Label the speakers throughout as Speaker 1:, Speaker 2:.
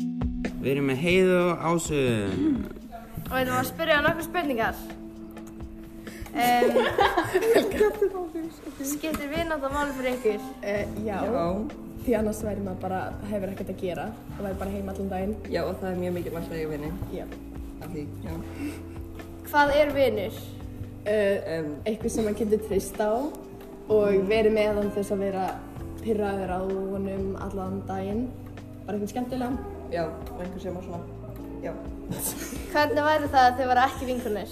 Speaker 1: Við erum með heiðu og ásu.
Speaker 2: Og við erum að spyrja hann okkur spurningar. Um, skiptir vinátt að máli fyrir ykkur?
Speaker 3: Uh, já. Því annars væri maður bara, hefur ekkert að gera og væri bara heima allan daginn.
Speaker 4: Já, og það er mjög mikilvægt að eiga vini.
Speaker 3: Já.
Speaker 4: Af því, já.
Speaker 2: Hvað er vinur?
Speaker 3: Uh,
Speaker 4: Um,
Speaker 3: eitthvað sem maður getur trist á
Speaker 4: Mm.
Speaker 3: og verið með hann þess að vera pirraður á honum allan daginn. Bara eitthvað skemmtilega.
Speaker 4: já, og einhver sem á svona, já.
Speaker 2: Hvernig væri það að þau væri ekki vinkunir?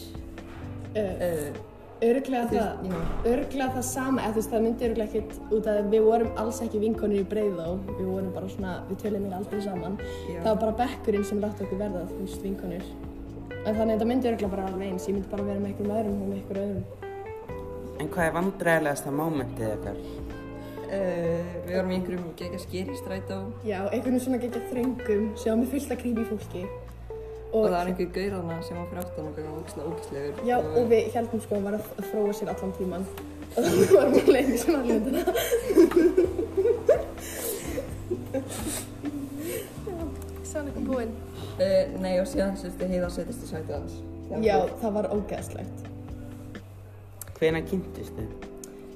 Speaker 3: Uh,
Speaker 4: Uh,
Speaker 3: Örglega
Speaker 4: Þú
Speaker 3: það,
Speaker 4: veist, já.
Speaker 3: örglega það sama, eða þú veist það myndi örglega ekkert út af því við vorum alls ekki vinkonur í breið þá, við vorum bara svona, við töluðum ekki aldrei saman.
Speaker 4: Já.
Speaker 3: Það var bara bekkurinn sem látti okkur verða, þú veist, vinkonur. En þannig að þetta myndi örglega bara alveg eins, ég myndi bara vera með einhverjum öðrum og með einhverjum öðrum.
Speaker 1: En hvað er vandræðilegasta mómentið ykkar?
Speaker 4: uh, við vorum í einhverjum gegga skýri strætó og,
Speaker 3: Já, einhvern svona geggjað þröngum sem var með fullt af creepy fólki. Og,
Speaker 4: það var einhver gaurana sem var fyrir aftan okkur og ógislega ógislegur.
Speaker 3: Já, og við heldum sko að hann var að að fróa sér allan tíman. Og þannig var mjög lengi sem allir þetta.
Speaker 2: Svona ykkur búinn.
Speaker 4: Uh, nei, og síðan sérstu heiða að setjast í sætið hans.
Speaker 3: Já, það var ógeðslegt.
Speaker 1: Hvenær kynntist þið?
Speaker 3: Uh,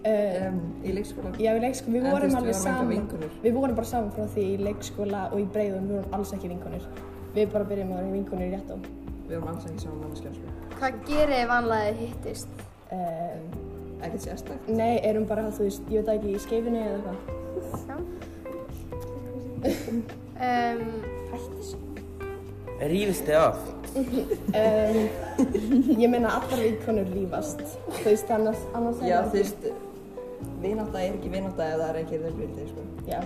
Speaker 4: Um, í leikskóla.
Speaker 3: Já, í leikskóla, við
Speaker 4: En
Speaker 3: vorum
Speaker 4: þú
Speaker 3: alveg
Speaker 4: veist, við vorum ekki
Speaker 3: saman,
Speaker 4: vinkonur.
Speaker 3: við vorum bara saman frá því í leikskóla og í breiðum, við vorum alls ekki vinkonur. Við bara byrjum að vera vinkonur í rétt á.
Speaker 4: Við vorum alls ekki saman manneskja, sko.
Speaker 2: Hvað gerir þið vanlega þið hittist?
Speaker 3: Uh,
Speaker 4: Ekkert sérstakt.
Speaker 3: nei, erum bara, þú veist, ég veit það ekki, í skeifinu eða eitthvað.
Speaker 2: Um,
Speaker 1: Rífist þið oft?
Speaker 3: Um, ég meina, allar vinkonur rífast, þú veist, annars, annars
Speaker 4: Já,
Speaker 3: það
Speaker 4: þú veist, vinátta er ekki vinátta ef það er ekki raunvildi, sko.
Speaker 3: Já,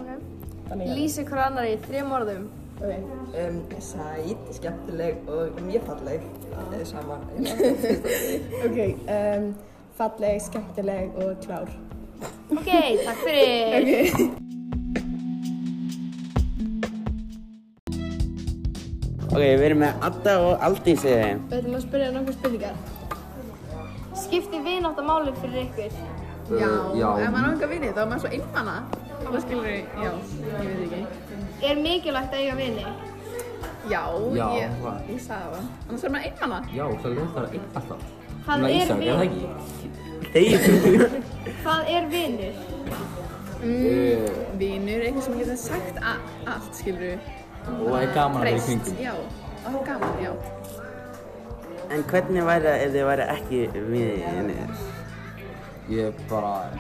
Speaker 3: þannig að...
Speaker 2: Lýsa hver annar í þrjum orðum.
Speaker 3: Ok,
Speaker 4: Um, sæt, skemmtileg og mjög falleg ah. saman.
Speaker 3: okay um, falleg, skemmtileg og klár.
Speaker 2: Ok, takk fyrir.
Speaker 1: Ok, við erum með Adda og Aldísi.
Speaker 2: Við ætlum að spyrja nokkur spurningar. Skiptir vinátt að máli fyrir ykkur?
Speaker 5: Já, ef maður á enga vini þá er maður svo einmana. Þá skilur ég, já, ég veit ekki.
Speaker 2: Er mikilvægt að eiga vini?
Speaker 5: Já,
Speaker 6: Já,
Speaker 5: ég,
Speaker 6: hvað?
Speaker 5: ég sagði það. Annars er maður einmana.
Speaker 6: Já, það er það einn alltaf.
Speaker 2: Hvað
Speaker 6: Svona
Speaker 2: er
Speaker 6: Ísak,
Speaker 2: við-
Speaker 6: Er það ekki?
Speaker 1: Þeir.
Speaker 2: Hvað er vinur?
Speaker 6: Eh,
Speaker 5: Vinur, eitthvað sem getur sagt a- allt, skilur ég.
Speaker 6: Og er gaman að vera í kringum.
Speaker 5: Já, og það er gaman, já.
Speaker 1: En hvernig væri það ef þið væri ekki vinir?
Speaker 6: Ég bara,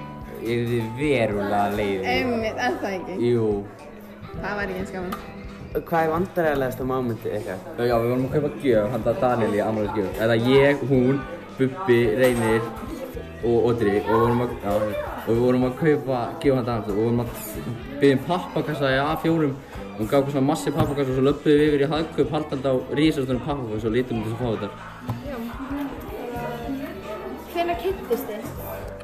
Speaker 6: ég er því verulega leið.
Speaker 5: Einmitt, er það ekki?
Speaker 6: Jú.
Speaker 5: Það væri ekki eins gaman.
Speaker 1: Hvað er vandræðilegasta mómentið ykkar?
Speaker 6: Eh, Já, við vorum að kaupa gjöf, hann það Daniel í Amalysgjöf. Eða ég, hún, Bubbi, Reynir og Odri og við vorum að, já, og við vorum að kaupa gjöf hann Daniel og við vorum að byggjum pappakassa í A4 og hún gaf okkur svona massi pappakassa og svo löppuðum við yfir í hagkaup haldandi á rísastunum pappakassa og lítum út þess að fá þetta.
Speaker 2: Hvenær kynntist þið?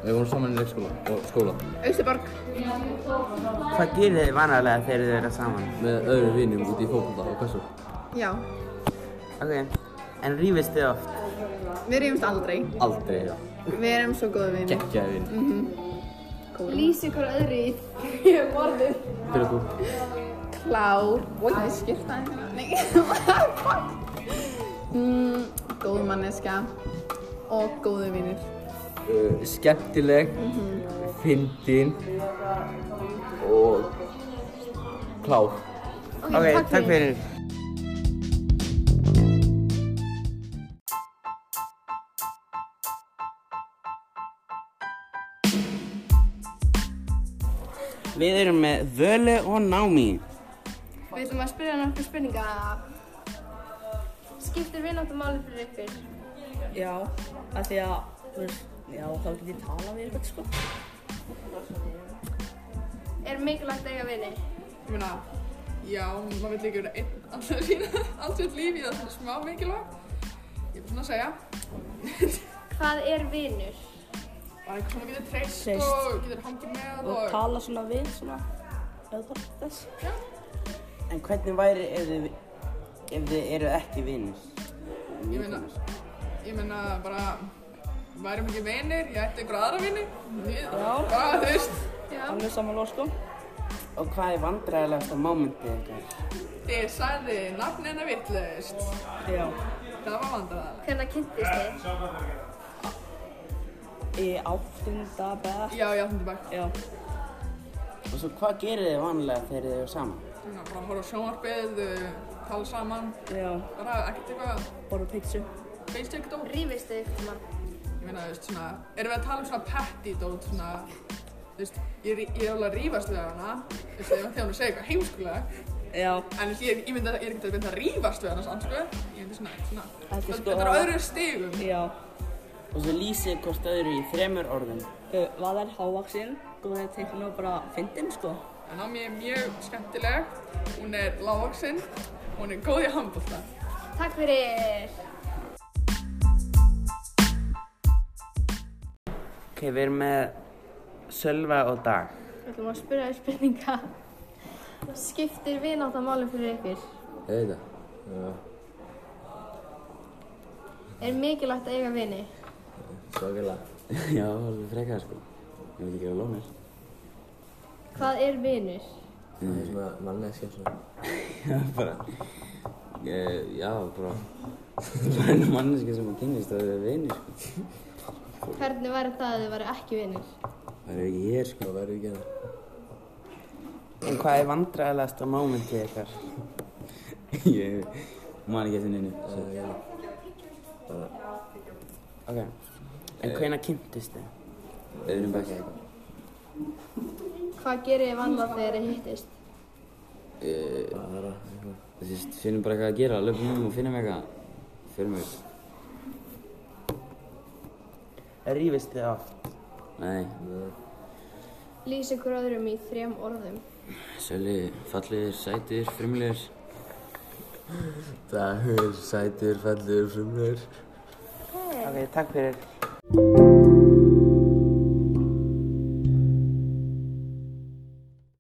Speaker 6: Við vorum saman í leikskóla og skóla
Speaker 5: Austuborg,
Speaker 1: Hvað gerir þið vanlega þegar þið eru saman?
Speaker 6: með öðrum vinum út í fókbalta og hversu.
Speaker 5: já.
Speaker 1: Ok, en rífist þið oft?
Speaker 5: Við rýfumst aldrei.
Speaker 6: Aldrei, já.
Speaker 5: Við erum svo góða vinir.
Speaker 6: Gekkjaði vin.
Speaker 2: Lýsa Mm-hmm. ykkur öðru í þrjum orðum.
Speaker 6: Fyrir þú.
Speaker 5: Klár. Oi, ég skipta henni. Nei, fuck. Mm, góð manneska og góðu vinir.
Speaker 6: Uh, skemmtileg,
Speaker 2: Mm-hmm.
Speaker 6: fyndin og klár.
Speaker 1: Ok, takk fyrir. Við erum með Völu og Námi.
Speaker 2: Við ætlum að spyrja nokkur spurningar. Skiptir vinátt að máli fyrir ykkur?
Speaker 7: Já, af því að, þú veist, já, þá get ég talað við eitthvað, sko.
Speaker 2: Er mikilvægt að eiga vini?
Speaker 8: Ég meina, já, maður vil ekki vera einn alltaf sína, alltaf lífi, það er smá mikilvægt. Ég er svona að segja,
Speaker 2: Hvað er vinur?
Speaker 8: bara eitthvað sem maður getur treyst
Speaker 7: Treyst.
Speaker 8: og getur hangið með
Speaker 7: Og
Speaker 8: og...
Speaker 7: tala svona við, svona, eða það er þess.
Speaker 1: En hvernig væri ef þið, ef þið eru ekki vinnir?
Speaker 8: Ég meina, ég meina bara, værum ekki vinir, ég ætti einhver aðra vini, við, bara þú veist.
Speaker 7: Alveg samanlóð, sko.
Speaker 1: Og hvað er vandræðilegasta mómentið ykkar?
Speaker 8: Þið sagði nafnina vitlaust.
Speaker 7: Já,
Speaker 8: Það var vandræðalega.
Speaker 2: Hvernig kynntist þið?
Speaker 7: í áttunda beða.
Speaker 8: Já, já, þetta er bara,
Speaker 7: Já,
Speaker 1: Og svo hvað gerir þið vanlega þegar þið eru saman?
Speaker 8: svona, bara horfa á sjónvarpið, uh, tala saman,
Speaker 7: já,
Speaker 8: bara ekkert eitthvað,
Speaker 7: borða pítsu.
Speaker 8: basic dót.
Speaker 2: Rífist þið ykkur mann?
Speaker 8: Ég meina, þú veist, svona, erum við að tala um svona petty dót, svona, þú veist, ég, er- ég er alveg að rífast við hana, þú veist, ef hún- þegar hún segir eitthvað heimskulega,
Speaker 7: Já,
Speaker 8: en þú veist, ég, ég myndi að, ég er ekkert að mynda að rífast við hana samt, sko, ég myndi svona, svona,
Speaker 7: Ekki
Speaker 8: þetta
Speaker 7: sko-
Speaker 8: þetta er á öðru stigum.
Speaker 7: já.
Speaker 1: Og svo lýsið þið hvort öðru í þremur orðum.
Speaker 7: Uh, Vala er hávaksinn, góðið teiknum og bara fyndin, sko.
Speaker 8: En Ami er mjög skemmtileg, hún er lágvaksinn, hún er góð í handbólta.
Speaker 2: Takk fyrir!
Speaker 1: Ok, við erum með Sölva og Dag.
Speaker 2: Við ætlum að spyrja þér spurninga. Skiptir vináttamálum fyrir ykkur?
Speaker 6: Eða.
Speaker 9: Já,
Speaker 2: Er mikilvægt að eiga vini?
Speaker 9: svakalega.
Speaker 6: Já, alveg frekar sko. Ég vil ekki vera lónir.
Speaker 2: Hvað er vinur?
Speaker 9: Það er svona manneskja svona.
Speaker 6: bara, ég, já, bara, bara einu manneski sem að kynast og við vinir sko.
Speaker 2: Hvernig væri það að þið væri ekki vinur?
Speaker 6: Það er ekki hér sko.
Speaker 9: Það verður ekki hérna.
Speaker 1: En hvað er vandræðilegasta mómentið ykkar?
Speaker 6: Ég man ekki eftir neinu.
Speaker 9: Það er ekki hérna.
Speaker 1: Ok. En
Speaker 6: Eh,
Speaker 1: hvenær kynntist þið?
Speaker 6: Öðrum bekk eða eitthvað.
Speaker 2: Hvað gerir þið vanlega þegar þið hittist?
Speaker 6: Eh,
Speaker 9: Það er að, eitthvað.
Speaker 6: Þú veist, finnum bara eitthvað að gera, löpum um og finnum eitthvað. Förum við.
Speaker 1: Rífist þið oft?
Speaker 6: Nei,
Speaker 2: Lýs ykkur öðrum í þrem orðum.
Speaker 6: Sölvi, fallegir, sætir, frumlegir.
Speaker 9: Dagur, sætur, fellur, frumur.
Speaker 1: Ok, takk fyrir.